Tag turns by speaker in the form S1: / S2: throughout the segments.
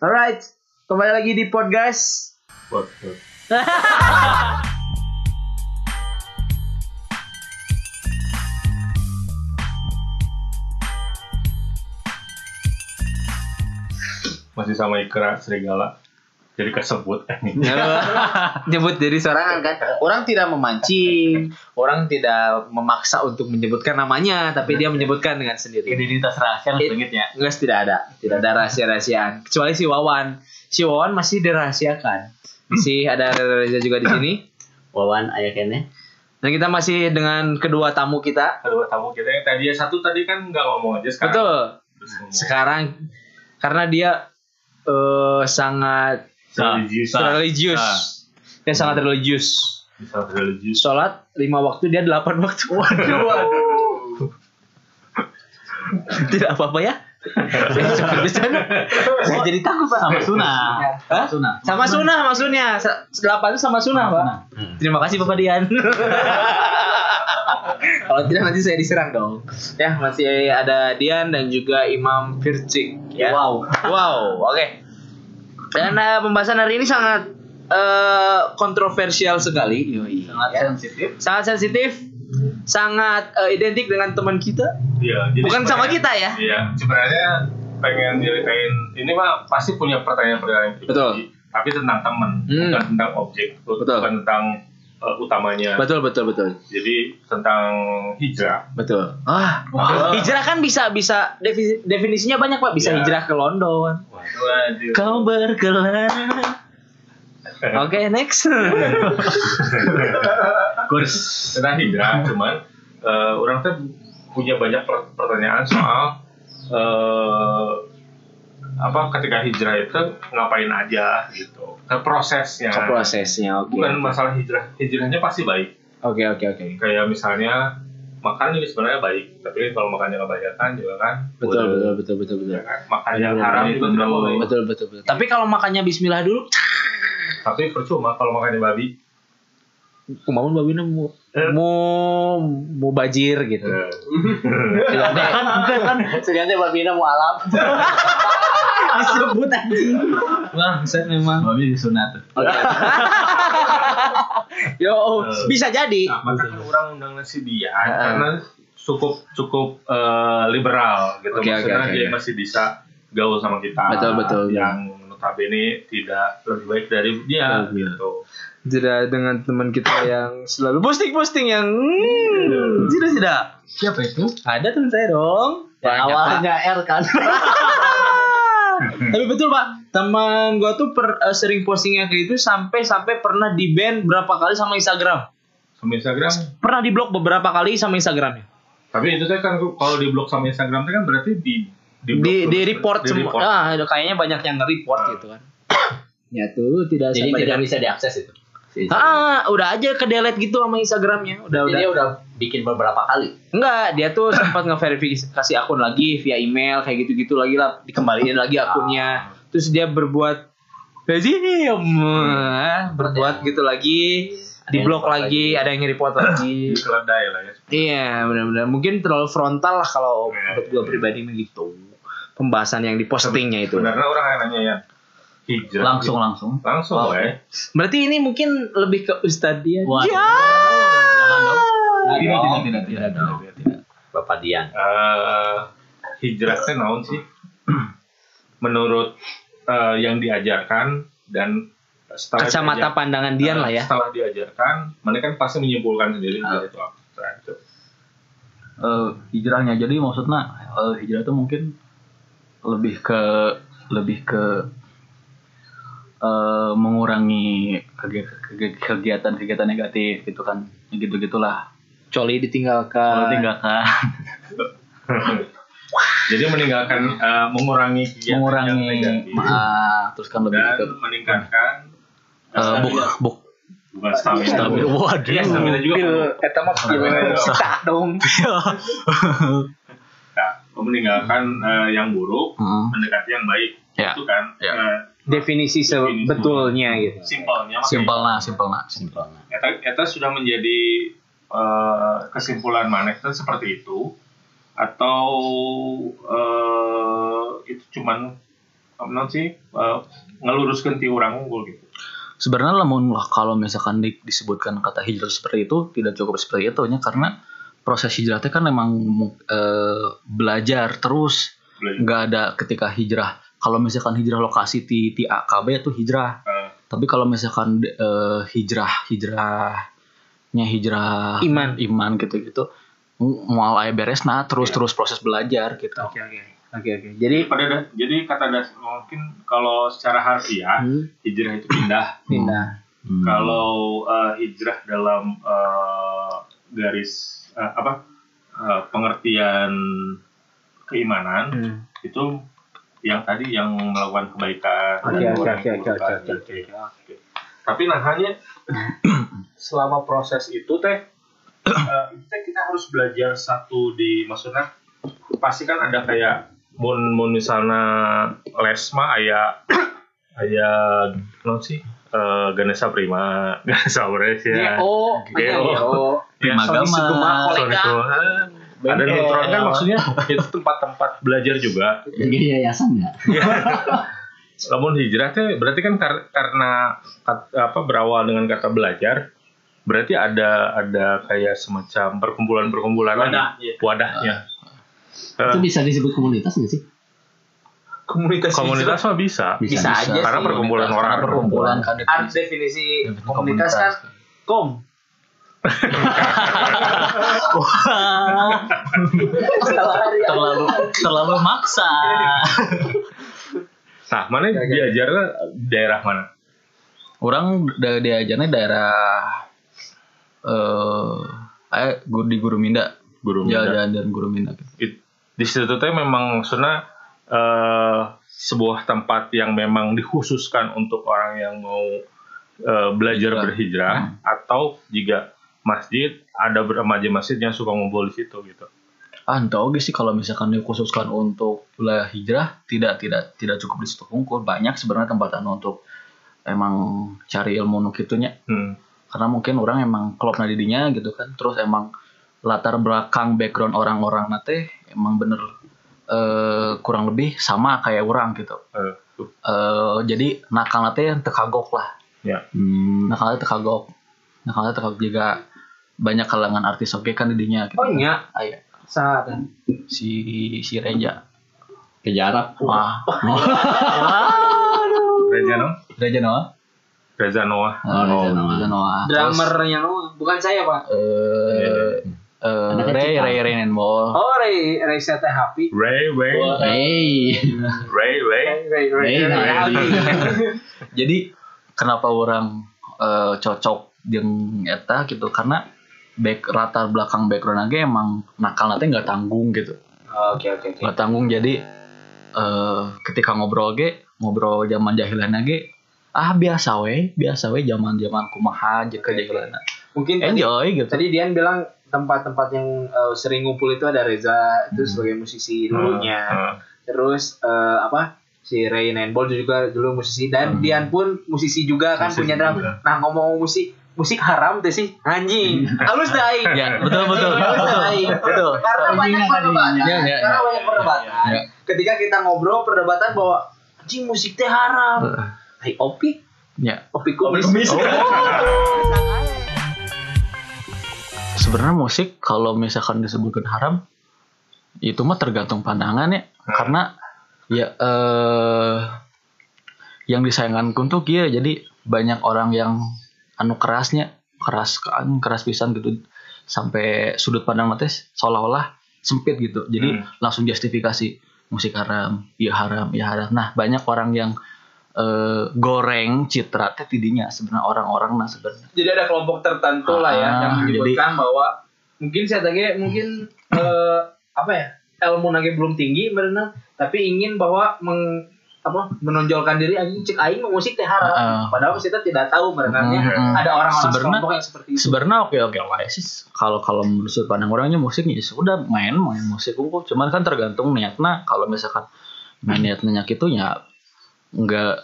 S1: Alright, kembali lagi di pod guys.
S2: Buat buat. Masih sama Ikra serigala. Jadi kesebut anjing.
S3: nyebut diri seorang
S1: Iya.
S3: kan orang tidak memancing orang tidak memaksa untuk menyebutkan namanya tapi dia menyebutkan dengan sendiri
S4: identitas rahasia ya?
S3: It-
S4: langitnya
S3: Enggak tidak ada tidak ada rahasia rahasiaan kecuali si Wawan si Wawan masih dirahasiakan si ada Reza Reza juga di sini
S4: Wawan ayakannya
S3: dan kita masih dengan kedua tamu kita
S2: Kedua tamu kita yang tadi satu tadi kan nggak ngomong aja sekarang.
S3: betul
S2: Oh.
S3: sekarang karena dia eh, sangat
S2: Religius.
S3: religius
S4: Ah.
S3: dia sangat religius
S2: Bisa religius.
S3: sholat lima waktu dia delapan waktu tidak apa apa ya Saya cukup di sana. Saya jadi takut pak
S4: sama sunah
S3: Hah?
S4: sama sunah
S3: sama sunnah maksudnya Sa- delapan itu sama sunnah Hmm. pak terima kasih bapak Dian kalau tidak nanti saya diserang dong ya masih ada Dian dan juga Imam Fircik ya
S4: wow
S3: Wow, oke. Dan eh, pembahasan hari ini sangat eh, kontroversial sekali.
S4: sangat
S3: Ya.
S4: sensitif
S3: Sangat sensitif, sangat eh, identik dengan teman kita.
S2: Iya, jadi
S3: Bukan sama
S2: sebenarnya-
S3: kita ya.
S2: Iya, sebenarnya pengen nyeritain ini mah pasti punya pertanyaan-pertanyaan pribadi,
S3: Betul.
S2: tapi tentang teman,
S3: Hmm.
S2: bukan tentang objek,
S3: Betul.
S2: bukan tentang uh, utamanya.
S3: Betul, betul, betul.
S2: Jadi tentang hijrah.
S3: Betul. Ah,
S2: Wah.
S3: hijrah kan bisa bisa defi- definisinya banyak Pak, bisa
S2: Iya.
S3: hijrah ke London.
S2: Waduh.
S3: Kau berkelana. Oke, next.
S2: kurs tentang hijrah, cuman uh, orang tuh punya banyak per- pertanyaan soal uh, apa ketika hijrah itu ngapain aja gitu, ke prosesnya.
S3: Ke prosesnya, oke.
S2: Bukan masalah hijrah, hijrahnya pasti baik.
S3: Oke, oke, oke.
S2: kayak misalnya makan juga sebenarnya baik tapi kalau makannya kebanyakan juga kan
S3: Betul,
S2: waduh,
S3: betul, betul, betul, betul.
S2: ya kan? makan yang haram
S4: Bener,
S2: juga tidak
S4: bener.
S2: boleh
S3: Betul, betul, betul. Tapi kalau makannya bismillah dulu,
S2: tapi percuma kalau makannya babi
S3: kemauan babina mau mau mau bajir gitu.
S2: eh,
S4: kan bukan kan sebenarnya babina mau alam
S3: Disebut anjing. Bangsat memang.
S4: babi disunat
S3: Yo, bisa jadi.
S2: nah, makanya orang undang nasi dia
S3: Ah.
S2: karena cukup cukup eh, liberal gitu
S3: Oke, oke,
S2: maksudnya
S3: oke,
S2: dia
S3: oke.
S2: masih bisa gaul sama kita
S3: Betul, betul.
S2: yang notabene tidak lebih baik dari dia
S3: Betul,
S2: gitu
S3: Tidak dengan teman kita yang selalu posting-posting yang hmm, tidak tidak.
S4: siapa itu
S3: Ada teman saya dong.
S4: awalnya
S3: Awalnya.
S4: R kan
S3: Tapi betul pak, teman gua tuh per- eh, sering postingnya kayak gitu sampai sampai pernah di ban berapa kali sama Instagram.
S2: sama Instagram
S3: Pernah di blok beberapa kali sama Instagramnya.
S2: tapi itu teh kan kalau di blok sama Instagram teh kan berarti di
S3: di, di,
S2: blok-
S3: report
S2: di
S3: semua.
S2: report.
S3: Ah, kayaknya banyak yang nge-report
S2: Ah.
S3: gitu kan. ya tuh tidak
S4: jadi
S3: sampai
S4: tidak
S3: dengan-
S4: bisa diakses itu Si-
S5: Iya.
S3: Ah, udah aja ke delete gitu sama Instagramnya. Udah
S4: jadi
S3: udah.
S4: dia udah bikin beberapa kali
S3: Enggak, dia tuh sempat ngeverifikasi akun lagi via email kayak gitu-gitu lagi lah dikembaliin lagi akunnya. Terus dia berbuat rezim, berbuat gitu lagi,
S4: Ada
S3: di
S4: yang
S3: blok
S4: report
S3: lagi, ada yang report lagi.
S2: di keledai lah ya
S3: Iya, benar-benar mungkin terlalu frontal lah kalau
S2: Iya,
S3: menurut
S2: iya,
S3: gue
S2: iya.
S3: pribadi gitu. Pembahasan yang dipostingnya itu.
S2: Sebenarnya orang yang nanya ya hijrah
S4: langsung
S2: gitu.
S4: Oh, langsung
S2: langsung
S4: Wow.
S2: ya.
S3: Berarti ini mungkin lebih ke Ustadz dia.
S4: Waduh,
S3: Ya.
S4: jangan dong.
S2: Tidak,
S4: Tidak,
S2: tidak,
S4: tidak, tidak, tidak,
S2: tidak, tidak.
S4: Bapak Dian.
S2: Eh, hijrah teh naon sih? Menurut eh, yang diajarkan dan setelah
S3: Kacamata
S2: diajar- eh,
S3: pandangan Dian lah ya.
S2: Setelah diajarkan, mereka kan pasti menyimpulkan sendiri
S4: Ah.
S2: dari itu apa. Nah, itu.
S5: eh, hijrahnya jadi maksudnya eh, hijrah itu mungkin lebih ke lebih ke eh, mengurangi kegi- kegi- kegiatan-kegiatan negatif gitu kan gitu gitulah
S3: Coli ditinggalkan.
S2: Ah.
S5: kalau kan, tinggalkan
S2: Jadi meninggalkan eh, mengurangi kegiatan yang
S5: mengurangi
S2: negatif
S5: maaf terus kan lebih
S2: dan
S5: ke
S2: meningkatkan
S5: eh, buk
S2: stamina.
S5: buk
S2: bukan stamina.
S5: Stamina. Waduh.
S3: Hmm.
S2: Iya, stamina juga. perlu.
S3: Eta mah
S2: Iya.
S3: Cita dong.
S2: Nah, meninggalkan eh, yang buruk
S5: Heeh.
S2: mendekati yang baik
S5: Hmm. Ya.
S2: itu kan
S5: Ya.
S2: eh,
S3: Definisi sebetulnya gitu.
S2: simpelnya mah
S5: simpel nah simpel nah
S2: gitu. eta, eta sudah menjadi eh, kesimpulan maneh teh seperti itu atau eh, itu cuman naon sih eh, ngeluruskeun ti urang unggul gitu.
S5: sebenarnya lamun lah kalau misalkan di- disebutkan kata hijrah seperti itu tidak cukup seperti itu nya karena proses hijrahnya kan memang mu- eh, belajar terus
S2: Belajar.
S5: nggak ada ketika hijrah kalau misalkan hijrah lokasi di, di AKB itu hijrah
S2: Eh.
S5: tapi kalau misalkan eh, hijrah hijrahnya hijrah
S3: Iman.
S5: iman gitu gitu mau ayah beres nah terus
S6: Iya.
S5: terus proses belajar gitu
S3: Oke oke. Oke oke. Jadi
S2: Eh, Pada da- jadi kata das mungkin kalau secara harfiah hijrah itu pindah.
S3: pindah.
S5: Hmm.
S2: Kalau eh, hijrah dalam eh, garis eh, apa eh, pengertian keimanan
S3: Hmm.
S2: itu yang tadi yang melakukan kebaikan
S3: Oke,
S2: dan
S3: oke,
S2: orang
S3: oke,
S2: yang
S3: oke,
S2: melakukan
S3: oke, oke,
S2: gitu. tapi nah hanya selama proses itu teh eh, itu teh kita harus belajar satu di maksudnya pasti kan ada kayak mun mun misalnya les mah aya aya non sih Eh, Ganesha Prima Ganesha Prima ya
S3: Oh,
S2: Geo.
S5: Prima Gama.
S2: Sorry, Gema. ada
S3: Bengkel.
S2: nutron kan maksudnya itu tempat-tempat belajar juga
S6: Jadi yayasan ya?
S2: Namun hijrah teh berarti kan kar- karena kat- apa berawal dengan kata belajar, berarti ada ada kayak semacam perkumpulan-perkumpulan
S6: Wadah,
S2: lagi. wadahnya. Eh,
S5: Iya.
S6: Itu bisa disebut komunitas nggak sih?
S3: Komunikasi.
S2: Komunitas mah bisa.
S3: Bisa aja
S2: Karena
S3: sih.
S2: perkumpulan orang.
S5: Karena perkumpulan kan
S3: Art definisi
S5: definisi
S3: komunitas kan kom.
S5: terlalu terlalu maksa
S2: Nah, mana diajarnya daerah mana?
S5: orang da diajarnya daerah eh eh guru di Guru Minda
S2: Guru Minda.
S5: jalan dan Guru Minda
S2: It- di situ teh memang maksudnya eh, sebuah tempat yang memang dikhususkan untuk orang yang mau eh, belajar
S5: Hijrah.
S2: berhijrah atau juga masjid ada bermaja masjid yang suka ngumpul di situ gitu.
S5: ah entah oke sih kalau misalkan dikhususkan untuk wilayah hijrah tidak tidak tidak cukup di situ Hungkul. banyak sebenarnya tempatan untuk emang cari ilmu nu kitunya
S2: Hmm.
S5: karena mungkin orang emang klop na didinya gitu kan terus emang latar belakang background orang-orang nate emang bener eh, kurang lebih sama kayak orang gitu
S2: Eh, tuh.
S5: Eh, jadi nakal nate yang tekagok lah
S2: Ya.
S6: Hmm.
S5: nakalnya tekagok nakalnya tekagok juga banyak kalangan artis oke kan didinya gitu
S3: Oh nya,
S5: Aya,
S3: saat.
S5: si si Reja
S6: Kejarap.
S5: wah
S2: Reza Noah,
S5: Reja Noah
S2: Reza Noah.
S5: Eh,
S6: Reza Ah, Noah.
S5: Reza Noah Terus,
S3: Drummernya nu, bukan saya pak.
S5: eh eh,
S6: Anaknya
S5: Ray
S6: Cita.
S5: Ray Ray Nenbol
S3: Oh Ray, Ray saya teh happy.
S2: Ray, Ray,
S6: Hey.
S2: Ray, Ray.
S3: Ray, Ray, Ray,
S6: Ray,
S3: Ray,
S6: Ray.
S3: happy.
S5: jadi kenapa orang eh, cocok jeung eta gitu karena back latar belakang background aja emang nakal nanti nggak tanggung gitu
S3: Ah, Oke oke oke.
S5: nggak tanggung jadi eh ketika ngobrol ge ngobrol zaman jahilan ge ah biasa we biasa we zaman zaman kumaha aja ke
S3: Mungkin tadi,
S5: enjoy gitu
S3: tadi Dian bilang tempat-tempat yang eh, sering ngumpul itu ada Reza
S5: Hmm.
S3: itu sebagai musisi dulunya.
S2: Heeh.
S3: terus eh, apa si Ray Nenbol juga dulu musisi dan
S5: Hmm.
S3: Dian pun musisi juga kan
S2: Musisi
S3: punya drum.
S2: juga.
S3: Nah ngomong musik musik haram tuh sih anjing halus dah aing.
S5: ya betul betul
S3: Halus dah, aing.
S5: betul
S3: Karena banyak perdebatan.
S5: Ya, ya,
S3: Karena
S5: ya.
S3: banyak perdebatan.
S5: Ya.
S3: Ketika kita ngobrol perdebatan bahwa anjing musik teh haram.
S5: Eh,
S3: Hai opi
S5: ya
S3: opi
S2: ah.
S3: kumis.
S2: Oh.
S5: sebenarnya musik kalau misalkan disebutkan haram itu mah tergantung pandangan ya karena ya eh yang disayangkan untuk ya jadi banyak orang yang anu kerasnya keras kan keras pisan gitu sampai sudut pandang mata seolah-olah sempit gitu jadi langsung justifikasi musik haram ya haram ya haram nah banyak orang yang eh, goreng citra teh tidinya sebenarnya orang-orang nah sebenarnya
S3: Jadi ada kelompok tertentu lah ya
S5: Ah,
S3: yang menyebutkan bahwa mungkin saya tanya mungkin eh, apa ya ilmu nage belum tinggi berenang tapi ingin bahwa meng, apa menonjolkan diri anjing cek aing mah musik teh haram.
S5: Heeh.
S3: Padahal kita tidak tahu berenangnya
S5: Heeh.
S3: ada orang-orang
S5: ah. Sebenarnya-
S3: kelompok yang seperti itu.
S5: sebenarnya oke oke lah sih kalau kalau menurut sudut pandang orangnya musiknya ya sudah main main musik unggul cuman kan tergantung niatnya kalau misalkan nah, niatnya itu ya nggak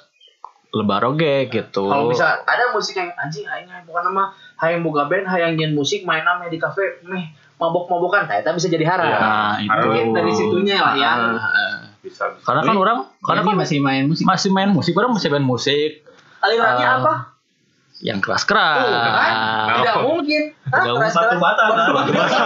S5: lebar oge gitu
S3: Kalau bisa ada musik yang anjing aing aing bukan nama hayang boga band hayang nyen musik main nama di kafe meh mabok-mabokan tah eta bisa jadi haram.
S5: nah itu
S3: Mungkin dari situnya lah ya.
S5: Ah, ah, ah.
S2: bisa bisa
S5: Karena kan
S6: Jadi,
S5: orang karena
S6: Karena
S5: kan
S6: masih main musik.
S5: masih main musik, orang masih main musik
S3: Alirannya
S5: Eh,
S3: apa?
S5: yang
S3: Tuh, kan?
S2: Ah.
S5: keras-keras.
S3: Tidak mungkin. Hah,
S5: Tidak
S3: keras
S7: Batu
S3: banget.
S7: bata.
S5: kan?
S7: Batu bata.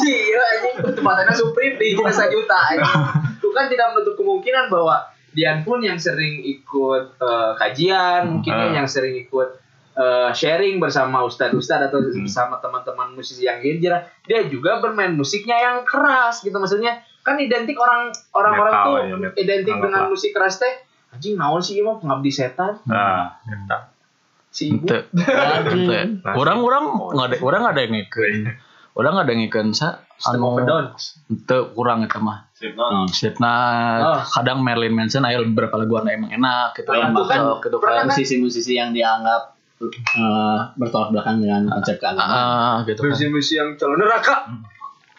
S3: Sih, ya, anjing ketempatannya Supreme di
S2: Iya.
S3: jasa juta anjing. Itu kan tidak menutup kemungkinan bahwa Dian pun yang sering ikut eh, kajian, mungkin ya,
S2: Hmm.
S3: yang sering ikut eh, sharing bersama ustadz-ustadz atau
S2: Hmm.
S3: bersama teman-teman musisi yang hijrah, dia juga bermain musiknya yang keras gitu maksudnya. Kan identik orang orang-orang
S2: Metal
S3: tuh
S2: ya, met-
S3: identik dengan
S2: anggaplah.
S3: musik keras teh. Anjing naon sih emang pengabdi setan
S2: nah kita
S3: si ibu.
S5: Ente. Ente. Orang-orang nggak ada orang nggak ada yang ngikutin. Orang nggak ada yang ngikutin sa. anu,
S3: System of a Down.
S5: Ente kurang itu mah.
S7: Slipknot.
S5: Slipknot,
S3: Oh.
S5: kadang Marilyn Manson, ayo beberapa lagu anda emang enak gitu
S7: Iya,
S5: kan.
S7: itu
S3: kan
S5: masuk gitu
S3: pernah
S5: kan.
S3: kan?
S6: Musisi-musisi yang dianggap eh, bertolak belakang dengan konsep keagamaan.
S5: Ah, gitu kan. Hmm.
S3: Musisi-musisi yang calon neraka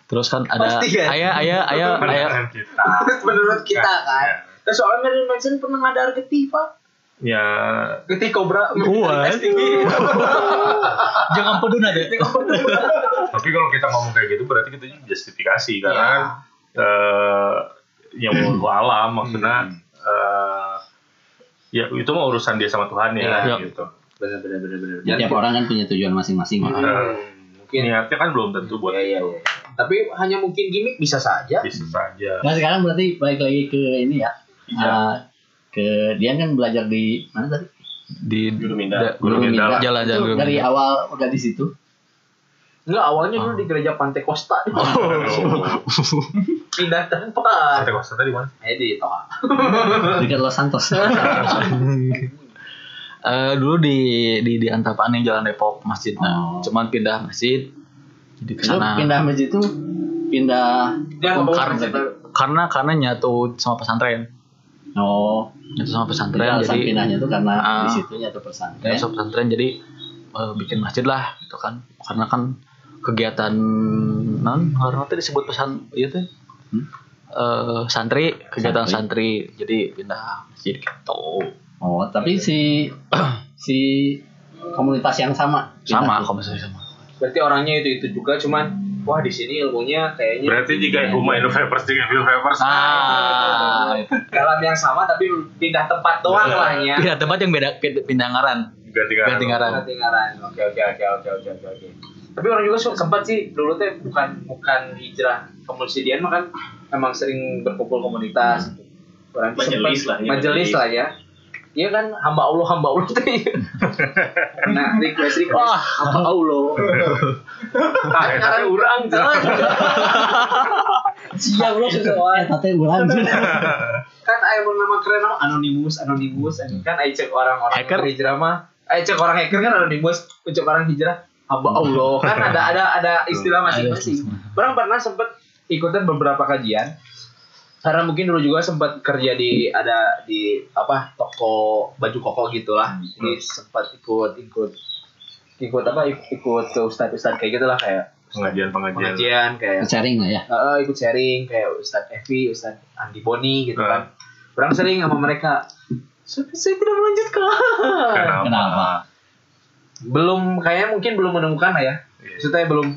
S5: Terus kan ada
S3: Pasti
S6: ya.
S3: kan?
S5: ayah ayah ayah ayah
S6: kan?
S2: Mendengarkan kita
S3: menurut
S5: Iya,
S3: kita kan.
S2: Ya.
S3: Terus soalnya Marilyn Manson pernah ngadar getih, Pak.
S2: ya
S3: Getih
S5: Iya.
S3: kobra. kan?
S5: Wah, Iya. jangan peduli deh.
S2: tapi kalau kita ngomong kayak gitu berarti kita juga justifikasi
S3: Iya.
S2: karena kan eh, yang mau alam maksudnya eh, ya itu mah urusan dia sama Tuhan ya,
S5: Iya.
S2: gitu
S3: Benar-benar benar-benar.
S6: Ya, tiap orang kan punya tujuan masing-masing.
S5: Iya.
S6: kan.
S2: Eh,
S3: Hmm, Mungkin
S2: niatnya kan belum tentu buat
S3: Iya, iya, iya. Tapi hanya mungkin gimmick bisa
S5: Iya.
S3: saja.
S2: bisnis saja
S6: Nah sekarang berarti balik lagi ke ini ya.
S5: Iya.
S6: Eh, ke dia kan belajar di mana tadi?
S5: Di
S7: Guru
S5: da-
S7: Minda.
S5: guru
S6: Guru
S5: Minda.
S6: Minda.
S5: jalan-jalan
S6: Itu
S5: guru
S6: dari
S5: Minda.
S6: awal udah di situ.
S3: Enggak, awalnya
S5: Ah.
S3: dulu di gereja Pantai Costa.
S2: Aduh.
S3: Pindah tempat.
S2: Pantai Kosta tadi mana?
S3: Eh, di Toha.
S6: Dekat Los Santos.
S5: Eh, dulu di di di Antapani Jalan Depok masjidnya.
S6: Oh.
S5: Cuman pindah masjid jadi ke
S6: Lu
S5: sana.
S6: pindah masjid itu pindah
S3: Dia nggak
S5: Karena-
S3: mau
S5: karena karena nyatu sama pesantren.
S6: oh
S5: Nyatu sama pesantren
S6: pindah alasan
S5: jadi
S6: pindahnya tuh karena
S5: Ah.
S6: di situnya tuh pesantren
S5: nyatu sama pesantren jadi eh, bikin masjid lah gitu kan. Karena kan kegiatan non karena itu disebut pesan iya tuh. Eh, santri kegiatan santri. jadi pindah masjid gitu
S6: oh tapi si si komunitas yang sama kita
S5: sama
S6: tuh.
S5: kalau misalnya sama
S3: Berarti orangnya itu-itu juga cuman wah di sini ilmunya kayaknya
S2: Berarti jika aku main Vapers dengan Phil Vapers
S5: ah Iya.
S3: dalam yang sama tapi pindah tempat doang lah ya.
S5: pindah tempat yang beda pindah ngaran
S2: ganti
S5: ganti ngaran
S3: Ketinggalan. Oke oke oke oke oke oke oke. Tapi orang juga su- sempat sih dulu teh bukan bukan hijrah ke Musyidian mah kan emang sering berkumpul komunitas. gitu. Orang tuh
S7: Majelis
S3: sempat-
S7: lah, ya.
S3: Majelis lah ya. Iya kan hamba Allah hamba Allah teh. nah request request
S5: Wah.
S3: hamba Allah.
S2: Ah,
S3: Kan ngaran urang jangan. Siang lo
S6: eh
S3: sesuatu
S6: tapi ulang
S3: kan ayo mau nama keren nama anonimus anonimus anjing. kan ayo cek orang-orang
S5: Hacker.
S3: yang hijrah mah ayo cek orang hacker kan anonimus cek orang hijrah hamba allah kan ada ada ada istilah masing-masing orang pernah sempet ikutan beberapa kajian karena mungkin dulu juga sempat kerja di ada di apa toko baju koko gitulah jadi sempat ikut ikut ikut apa ik- ikut ke ustadz ustadz kayak gitulah kayak Iya.
S2: Pengajian-pengajian
S3: pengajian kayak
S6: sharing lah ya
S3: Heeh, ikut sharing kayak Ustadz Evi, Ustadz Andi Boni gitu
S2: Heeh.
S3: kan. Orang sering sama mereka. "Saya- Saya tidak melanjutkan.
S2: Kenapa?
S6: kenapa
S3: Belum kayaknya mungkin belum menemukan lah ya.
S2: Iya.
S3: Maksudnya belum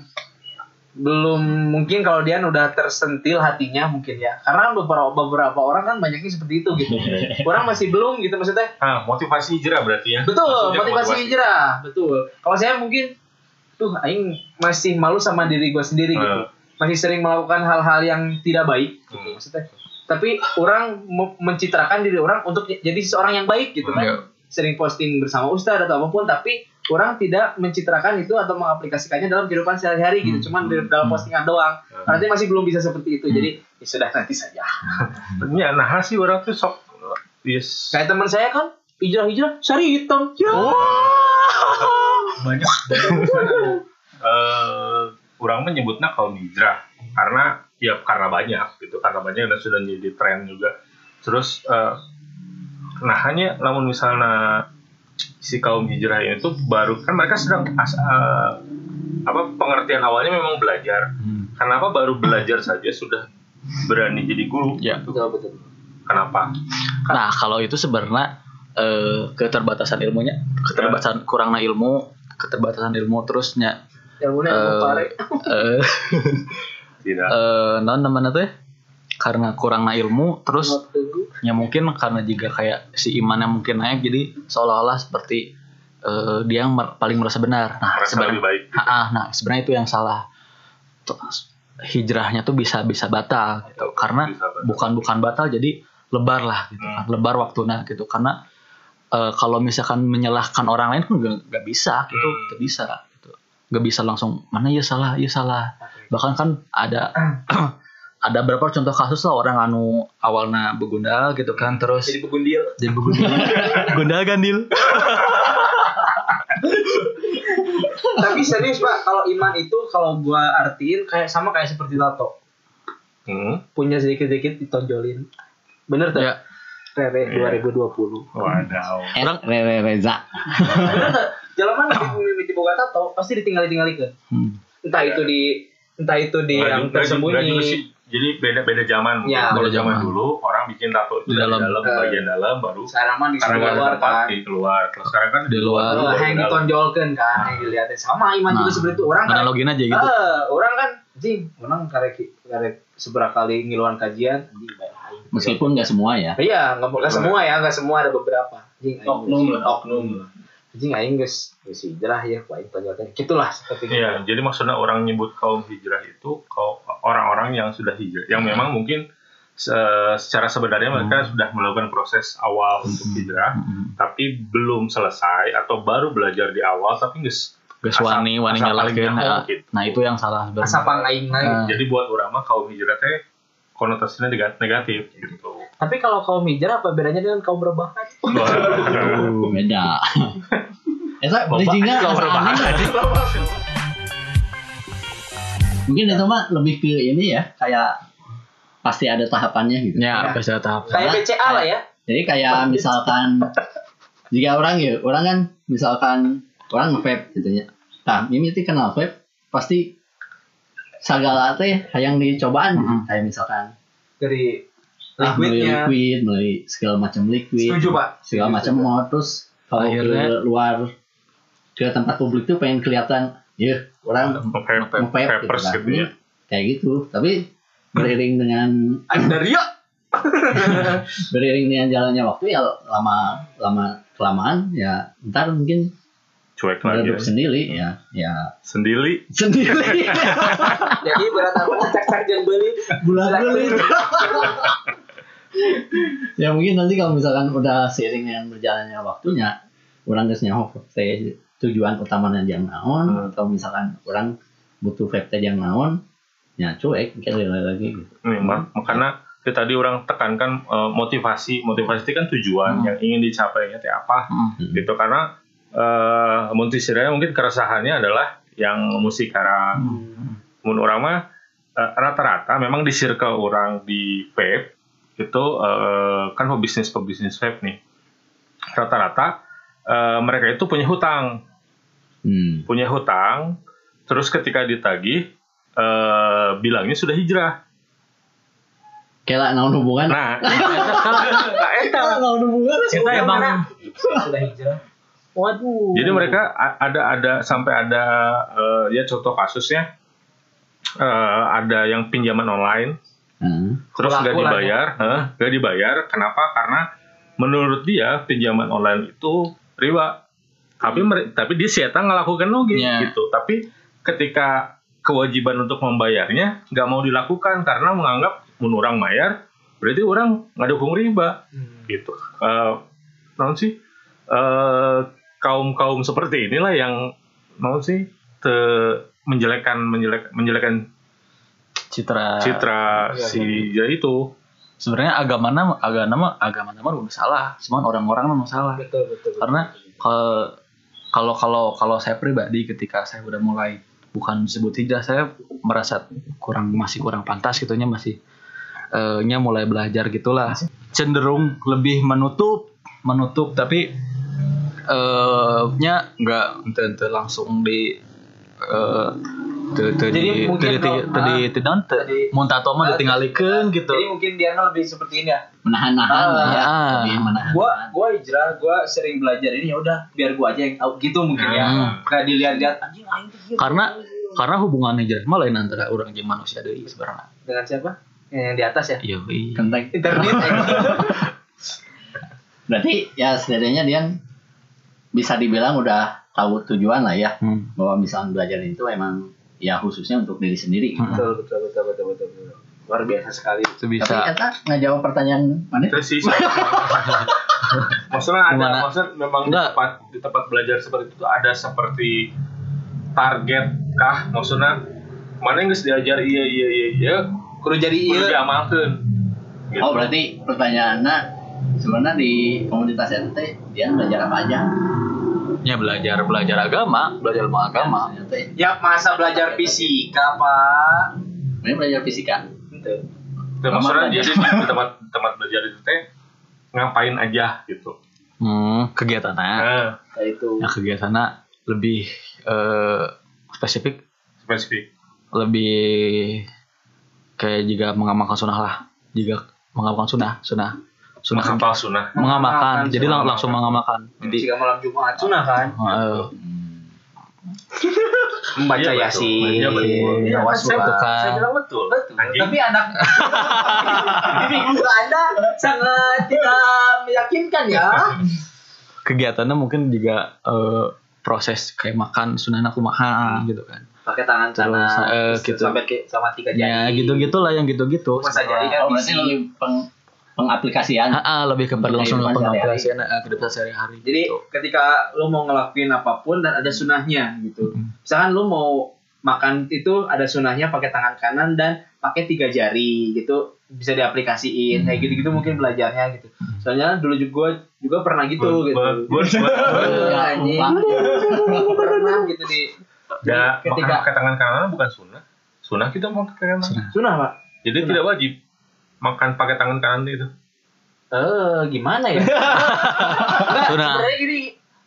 S3: belum mungkin kalau dia udah tersentil hatinya mungkin ya. Karena kan beberapa beberapa orang kan banyaknya seperti itu gitu. orang masih belum gitu maksudnya.
S2: Ah, motivasi hijrah berarti ya.
S3: Betul,
S2: Maksudnya
S3: motivasi hijrah. Betul. Kalau saya mungkin tuh aing masih malu sama diri gue sendiri gitu.
S2: Hmm.
S3: Masih sering melakukan hal-hal yang tidak baik gitu
S2: Hmm.
S3: maksudnya. Tapi orang me- mencitrakan diri orang untuk j- jadi seorang yang baik gitu kan.
S5: Iya.
S3: Sering posting bersama ustadz atau apapun tapi orang tidak mencitrakan itu atau mengaplikasikannya dalam kehidupan sehari-hari gitu, cuman di- dalam postingan doang.
S2: Hmm.
S3: Nanti masih belum bisa seperti itu. Jadi ya sudah nanti saja.
S2: Ya, nah sih orang tuh sok yes.
S3: Kayak teman saya kan hijrah-hijrah sari hitam. Ya.
S2: banyak. Eh, orang menyebutnya kaum hijrah karena ya karena banyak gitu karena banyak dan sudah jadi tren juga. Terus eh, nah hanya namun misalnya si kaum hijrah itu baru kan mereka sedang as- eh, apa pengertian awalnya memang belajar.
S5: Hmm.
S2: Kenapa baru belajar saja sudah berani jadi guru?
S5: Ya.
S3: Betul betul.
S2: Kenapa?
S5: nah kalau itu sebenarnya eh, keterbatasan ilmunya keterbatasan kurangnya ilmu keterbatasan ilmu terusnya
S3: Yang mana
S5: eh
S3: yang mau pare.
S5: eh,
S2: Tidak.
S5: eh, non namanya tuh ya karena kurangnya ilmu terus ya mungkin karena juga kayak si imannya mungkin naik jadi seolah-olah seperti eh, dia yang mer- paling merasa benar nah
S2: merasa
S5: sebenarnya
S2: lebih baik
S5: Ah, ah, nah sebenarnya itu yang salah Tuh, hijrahnya tuh bisa bisa batal gitu karena
S2: Bisa batal. Hmm.
S5: bukan bukan batal jadi lebar lah gitu kan. lebar waktunya gitu karena eh, kalau misalkan menyalahkan orang lain kan nggak nggak bisa gitu
S2: Hmm.
S5: nggak bisa gitu nggak bisa langsung mana ya salah ya salah bahkan kan ada ada berapa contoh kasus lah orang anu awalnya begundal gitu kan terus jadi begundil jadi begundil gondal gandil
S3: Tapi serius pak, kalau iman itu kalau gua artiin kayak sama kayak seperti tato,
S2: Hmm.
S3: punya sedikit-sedikit ditonjolin. Bener tuh?
S5: Ya.
S3: Rere
S2: Iya.
S3: 2020.
S2: Wadaw.
S6: Eh, Rere Reza.
S3: Bener tuh? Jalan mana di mimpi dibuka tato, pasti ditinggal-tinggalin
S5: Hmm.
S3: Entah itu di entah itu di
S2: Nggak
S3: yang
S2: juga- nggak juga sih.
S3: tersembunyi.
S2: Jadi beda beda zaman. mungkin.
S3: Ya.
S2: Kalau
S5: Beda
S2: zaman
S5: zaman.
S2: dulu orang bikin tato
S5: Di
S2: di dalam,
S5: dalam.
S2: bagian dalam baru.
S3: Sekarang kan? mah
S2: Karena nggak ada
S3: dikeluarkan.
S2: tempat di keluar. Terus sekarang kan
S5: di luar
S3: Eh, yang ditonjolkan
S2: Nah.
S3: kan, yang dilihatin sama iman juga
S5: Nah,
S3: seperti itu. Orang kan
S5: analogin aja gitu
S3: Eh, orang kan jing, orang karek karek seberapa kali ngiluan kajian, anjing banyak hal.
S6: Meskipun nggak semua ya.
S3: Iya, nggak nggak semua ya, nggak semua ada beberapa. Anjing aing.
S7: oknum lah oknum lah
S3: Anjing aing geus geus hijrah ya, ku aing tonjolkan. Gitulah seperti itu.
S2: Iya, jadi maksudnya orang nyebut kaum hijrah itu kaum orang-orang yang sudah hijrah, yang memang mungkin se- secara sebenarnya mereka sudah melakukan proses awal untuk hijrah,
S5: Hmm.
S2: tapi belum selesai atau baru belajar di awal tapi nggak
S5: Geus wani wani nyalahkeun. Nah, nah, itu yang salah sebenarnya.
S3: Asapang aing aing.
S5: Nah,
S2: gitu. Jadi buat orang mah kaum hijrah teh konotasinya nega- negatif gitu.
S3: Tapi kalau kaum hijrah apa bedanya dengan kaum berbahan?
S6: Iya. Beda. Eta bridgingnya
S2: Bapak,
S6: asa
S2: bapak.
S6: aneh. Mungkin itu mah lebih ke ini ya, kayak pasti ada tahapannya gitu.
S5: ya, apa sih tahap?
S3: Kayak BCA lah ya.
S6: Jadi kayak misalkan jika orang ya, orang kan misalkan orang vape gitu ya. Nah, ini tuh kenal vape pasti segala teh yang dicobaan gitu. kayak misalkan
S3: Dari
S6: ah,
S3: Mm-hmm.
S6: beli
S3: liquidnya.
S6: liquid, beli segala macam liquid,
S3: Setuju pak.
S6: segala macam mau terus kalau
S5: Akhirnya-
S6: ke luar ke tempat publik tuh pengen kelihatan, ya orang ngevape gitu,
S2: Papers
S6: kan.
S2: gitu ya.
S6: kayak gitu. Tapi beriring dengan
S3: Ada Rio.
S6: beriring dengan jalannya waktu ya lama lama kelamaan ya ntar mungkin
S2: Cuek lagi.
S6: meredup sendiri ya ya
S2: Sendiri.
S6: sendiri
S3: Jadi berat apa cek-cek yang beli.
S6: bulat belit ya mungkin nanti kalau misalkan udah seiring dengan berjalannya waktunya orang geus nyaho vape teh tujuan utamanya yang naon
S3: Hmm.
S6: atau misalkan orang butuh vape teh yang naon ya cuek mungkin lagi lagi gitu
S2: Nih, Mak. makanya itu tadi orang tekankan eh, motivasi. Motivasi itu kan
S6: Hmm.
S2: tujuan yang ingin dicapainya teh apa gitu karena eh muntisiranya mungkin keresahannya adalah yang musik karang.
S6: Hmm.
S2: Mun orang mah eh, rata-rata memang di circle orang di vape itu eh, kan pebisnis pebisnis vape nih. Rata-rata eh, mereka itu punya hutang
S6: hmm.
S2: punya hutang, terus ketika ditagih eh bilangnya sudah hijrah.
S6: kayak lah naon hubungan
S2: Nah,
S6: Kayak naon hubungan
S3: Kita emang sudah hijrah. Waduh.
S2: jadi mereka a- ada ada sampai ada eh, ya contoh kasusnya eh, ada yang pinjaman online
S6: Hmm.
S2: terus nggak
S3: Pelaku lah ya.
S2: dibayar, eh, nggak dibayar. Kenapa? Karena menurut dia pinjaman online itu riba. Tapi mere- tapi dia setan ngelakukan oge
S5: Iya.
S2: gitu. Tapi ketika kewajiban untuk membayarnya nggak mau dilakukan karena menganggap menurang bayar berarti orang nggak dukung riba gitu. Eh naon sih kaum kaum seperti inilah yang mau sih te- menjelekkan menjelek menjelekan
S3: Nah.
S5: Citra.
S2: citra si dia itu
S5: Sebenarnya agama nama agama nama agama nama udah salah, cuman orang-orang memang salah.
S3: Betul betul. betul.
S5: Karena ke- kalau kalau kalau saya pribadi ketika saya udah mulai bukan disebut hijrah, saya merasa kurang masih kurang pantas gitunya masih eh, nya mulai belajar gitulah. Cenderung lebih menutup menutup tapi eh nya nggak ente- ente langsung di eh
S3: Jadi mungkin lo-
S5: tadi
S3: ah, tadi-
S5: muntato mah ditinggalikeun gitu.
S3: Jadi mungkin dia lebih seperti ini ya.
S6: menahan-nahan lah ya.
S5: Ah.
S6: Lebih menahan.
S3: gua gua hijrah gua sering belajar ini ya udah biar gua aja yang tahu gitu mungkin ya nggak dilihat-lihat ah, anjing anjing
S5: Karena karena hubungan hijrah mah lain antara orang jeung manusia deui iya sebenarnya.
S3: dengan siapa yang di atas ya
S5: Yoi.
S2: Kan.
S6: Kentek.
S3: internet
S6: Berarti ya setidaknya dia bisa dibilang udah tahu tujuan lah ya
S5: Hmm.
S6: bahwa misalnya belajar itu emang ya khususnya untuk diri sendiri.
S5: Hmm,
S3: betul betul betul betul betul betul. luar biasa sekali
S6: Tapi
S5: Sebisa
S6: kata nggak jawab pertanyaan mana?
S2: Terus sih. maksudnya ada,
S5: Gimana?
S2: maksudnya memang di
S5: Enggak.
S2: tempat, di tempat belajar seperti itu tuh ada seperti target kah? Maksudnya mana yang geus diajar iya iya iya iya
S3: kudu jadi
S2: kudu
S3: iya
S2: diamalkeun. Gitu.
S6: Oh berarti pertanyaannya sebenarnya di komunitas NT dia belajar apa aja?
S5: ya belajar belajar agama, belajar ilmu agama.
S6: Misalnya teh,
S3: ya masa belajar fisika pak
S6: Ini belajar fisika.
S3: Gitu.
S2: Tuh, maksudnya
S6: Aman
S3: ya?
S2: jadi di tempat tempat belajar itu teh ngapain aja gitu.
S5: Hmm, kegiatannya.
S2: Nah,
S3: Nah, itu
S5: Nah, kegiatannya lebih eh, spesifik,
S2: spesifik.
S5: lebih kayak jika mengamalkan sunnah lah. Jika mengamalkan sunnah, sunnah, sunnah
S2: Menghafal sunnah.
S5: mengamalkan. Jadi lang-
S2: Mengamalkan.
S5: langsung mengamalkan. Jadi
S3: jika malam Jumat sunah kan
S5: eh,
S3: membaca
S2: Iya, betul.
S3: yasin
S2: Iya, betul.
S5: ya,
S3: Iya,
S2: Iya,
S3: waswas.
S5: itu
S2: Saya
S5: kan.
S2: bilang betul.
S3: Betul.
S2: Anjing.
S3: Tapi anak Tapi minggu Anda sangat tidak meyakinkan ya.
S5: kegiatannya mungkin juga eh, proses kayak makan sunnah aku makan gitu kan.
S3: Ah. Pakai tangan
S5: Terus,
S3: sana
S5: eh,
S3: terus
S5: gitu.
S3: sampai ke sama tiga jari.
S5: Ya gitu-gitulah yang gitu-gitu.
S3: Masa jari kan
S6: Oh berarti
S3: fisik.
S6: lebih peng- pengaplikasian.
S5: Ah, ah, lebih kepada langsung
S6: Kehidupan
S5: pengaplikasian eh, kehidupan sehari-hari.
S3: Jadi
S5: gitu.
S3: ketika lo mau ngelakuin apapun dan ada sunahnya gitu.
S5: Mm.
S3: Misalkan lo mau makan itu ada sunahnya pakai tangan kanan dan pakai tiga jari gitu bisa diaplikasiin kayak gitu-gitu mungkin belajarnya gitu. Soalnya dulu juga juga pernah gitu gitu.
S2: Gua- gua- gua-
S6: Ya,
S3: Anjing.
S6: lupa.
S3: pernah gitu di
S2: Ya,
S3: Ketika-
S2: ketika makan pakai tangan kanan bukan sunnah. Sunnah kita mau pakai tangan. kanan.
S3: sunah pak.
S2: Jadi tidak wajib makan pakai tangan kanan itu.
S3: Eh, gimana ya? Enggak,
S5: Sunah.
S3: sebenarnya gini,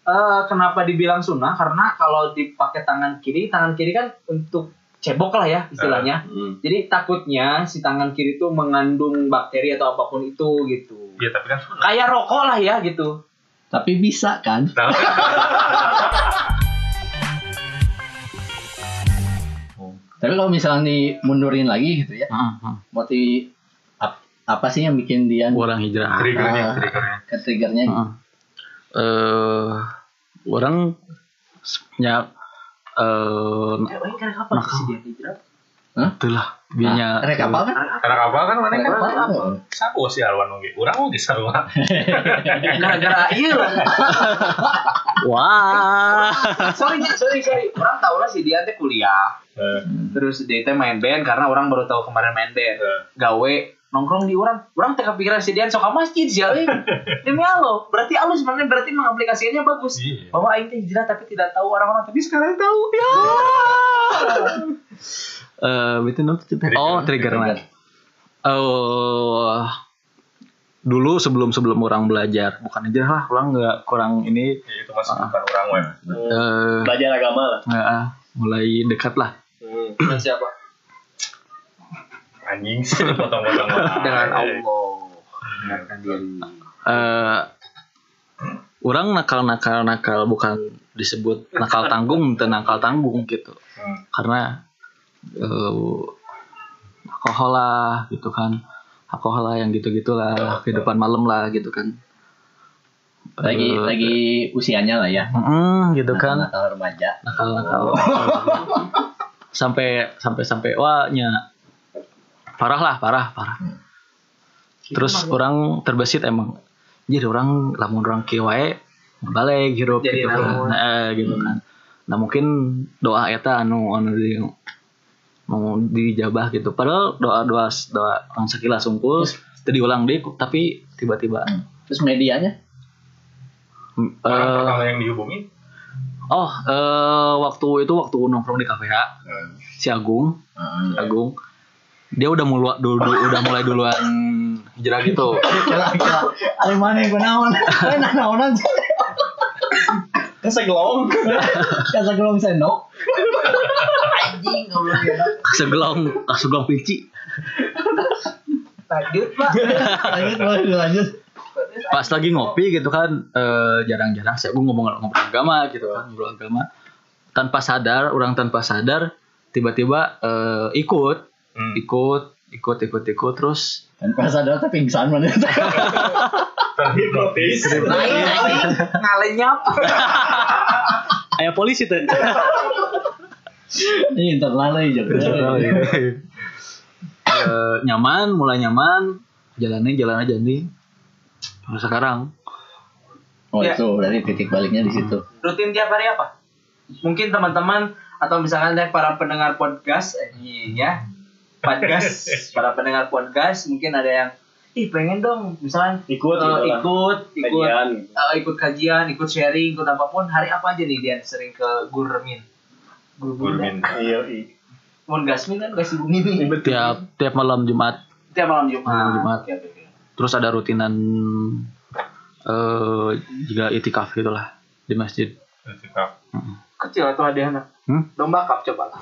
S3: eh, kenapa dibilang sunnah? Karena kalau dipakai tangan kiri, tangan kiri kan untuk cebok lah ya istilahnya.
S6: Hmm.
S3: Jadi takutnya si tangan kiri itu mengandung bakteri atau apapun itu gitu.
S2: Iya, tapi kan sunnah.
S3: Kayak rokok lah ya gitu.
S6: Tapi bisa kan?
S2: Nah,
S6: Tapi kalau misalnya dimundurin lagi gitu ya,
S5: Ah, ah.
S6: motif ap- apa sih yang bikin dia
S5: Orang hijrah.
S2: triggernya,
S6: Ah.
S2: triggernya.
S6: ke triggernya? gitu?
S5: Heeh. Ah, eh orang nya eh
S1: Oh,
S3: Kayak kan apa
S6: Nah,
S3: sih dia hijrah?
S5: itulah
S3: Ah,
S5: binya
S6: Rek apa kan?
S2: Karena kapal kan mana
S6: Rek
S2: kan
S6: apa?
S2: sapu sih alwan oge. Urang oge sarua.
S3: Gara-gara iya lah.
S5: wah
S3: sorry Nya, sorry sorry. Orang tahu lah si dia teh kuliah.
S2: Eh,
S3: terus dia teh main band karena orang baru tahu kemarin main band gawe nongkrong di orang orang teh kepikiran si Dian soka masjid sih aing demi Allah berarti Allah sebenarnya berarti mengaplikasikannya bagus
S2: Iya.
S3: bahwa aing teh hijrah tapi tidak tahu orang-orang tapi sekarang tahu ya
S5: eh betul no cerita oh trigger man oh dulu sebelum sebelum orang belajar bukan hijrah lah orang nggak kurang ini
S2: ya, itu masih bukan orang web.
S5: eh
S1: Belajar agama lah.
S5: nggak, ah, mulai dekat lah
S3: dengan siapa
S2: Anjing sih potong-potong.
S3: dengan Allah dengarkan diri
S5: eh orang nakal nakal nakal bukan disebut nakal tanggung dan nakal tanggung gitu
S2: Hmm.
S5: karena eh alkohol lah gitu kan alkohol lah yang gitu gitulah kehidupan malam lah gitu kan
S6: Lagi
S5: Eh,
S6: lagi usianya lah ya.
S5: mm, gitu kan
S6: Nakal remaja.
S5: nakal nakal sampai sampai sampai wahnya parah lah parah parah
S3: Hmm.
S5: terus orang terbesit emang jadi orang lamun orang kiwae balik hirup
S3: Jadi
S5: gitu kan
S3: lamun.
S5: Eh, gitu kan nah mungkin doa eta anu anu di mau dijabah gitu padahal doa doa doa orang sekilas sungkul teu diulang deh tapi tiba-tiba
S6: Terus medianya?
S5: mm,
S2: Orang
S5: eh,
S2: pertama yang dihubungi.
S5: oh eh, waktu itu waktu nongkrong di kafe ya si Agung Agung dia udah mulai dulu udah mulai duluan hijrah gitu
S6: Kela kela. Ada mana yang kenaon? Mana naonan?
S1: Kan gelong.
S6: Kasa gelong Kan sendok. Anjing goblok ya.
S5: segelong segelong pici
S3: lanjut pak
S6: Lanjut boleh lanjut.
S5: pas lagi ngopi gitu kan eh, jarang-jarang saya gue ngomong ngomong agama gitu kan ngobrol agama tanpa sadar orang tanpa sadar tiba-tiba eh, ikut
S2: Hmm.
S5: ikut ikut ikut ikut terus
S6: Tanpa sadar tapi pingsan mana itu.
S2: terhipnotis
S3: Ngalenya apa?
S8: Ayah polisi tuh.
S6: Ini internal aja.
S5: Oh, iya. Eh, nyaman mulai nyaman jalannya jalan aja nih Nah, sekarang
S6: Oh
S3: Ya.
S6: itu berarti titik baliknya di situ.
S3: Rutin tiap hari apa? Mungkin teman-teman atau misalkan deh para pendengar podcast eh, ya. Podcast, para pendengar podcast mungkin ada yang ih pengen dong misalkan
S1: Ikut,
S3: eh,
S1: gitu lah.
S3: ikut ikut
S1: Kajian.
S3: eh, ikut kajian, ikut sharing, ikut apapun. Hari apa aja nih dia sering ke Gurmin?
S2: gurmin
S1: Iya, iya.
S3: Mun kan? Gasmin kan kasih bumi nih.
S5: tiap tiap malam Jumat
S3: Tiap malam Jumat.
S5: Malam Jumat.
S3: Oke, oke, oke.
S5: terus ada rutinan eh juga itikaf gitulah di masjid
S2: Itikaf.
S3: Kecil atau ada anak?
S5: Hmm?
S3: Domba cup coba.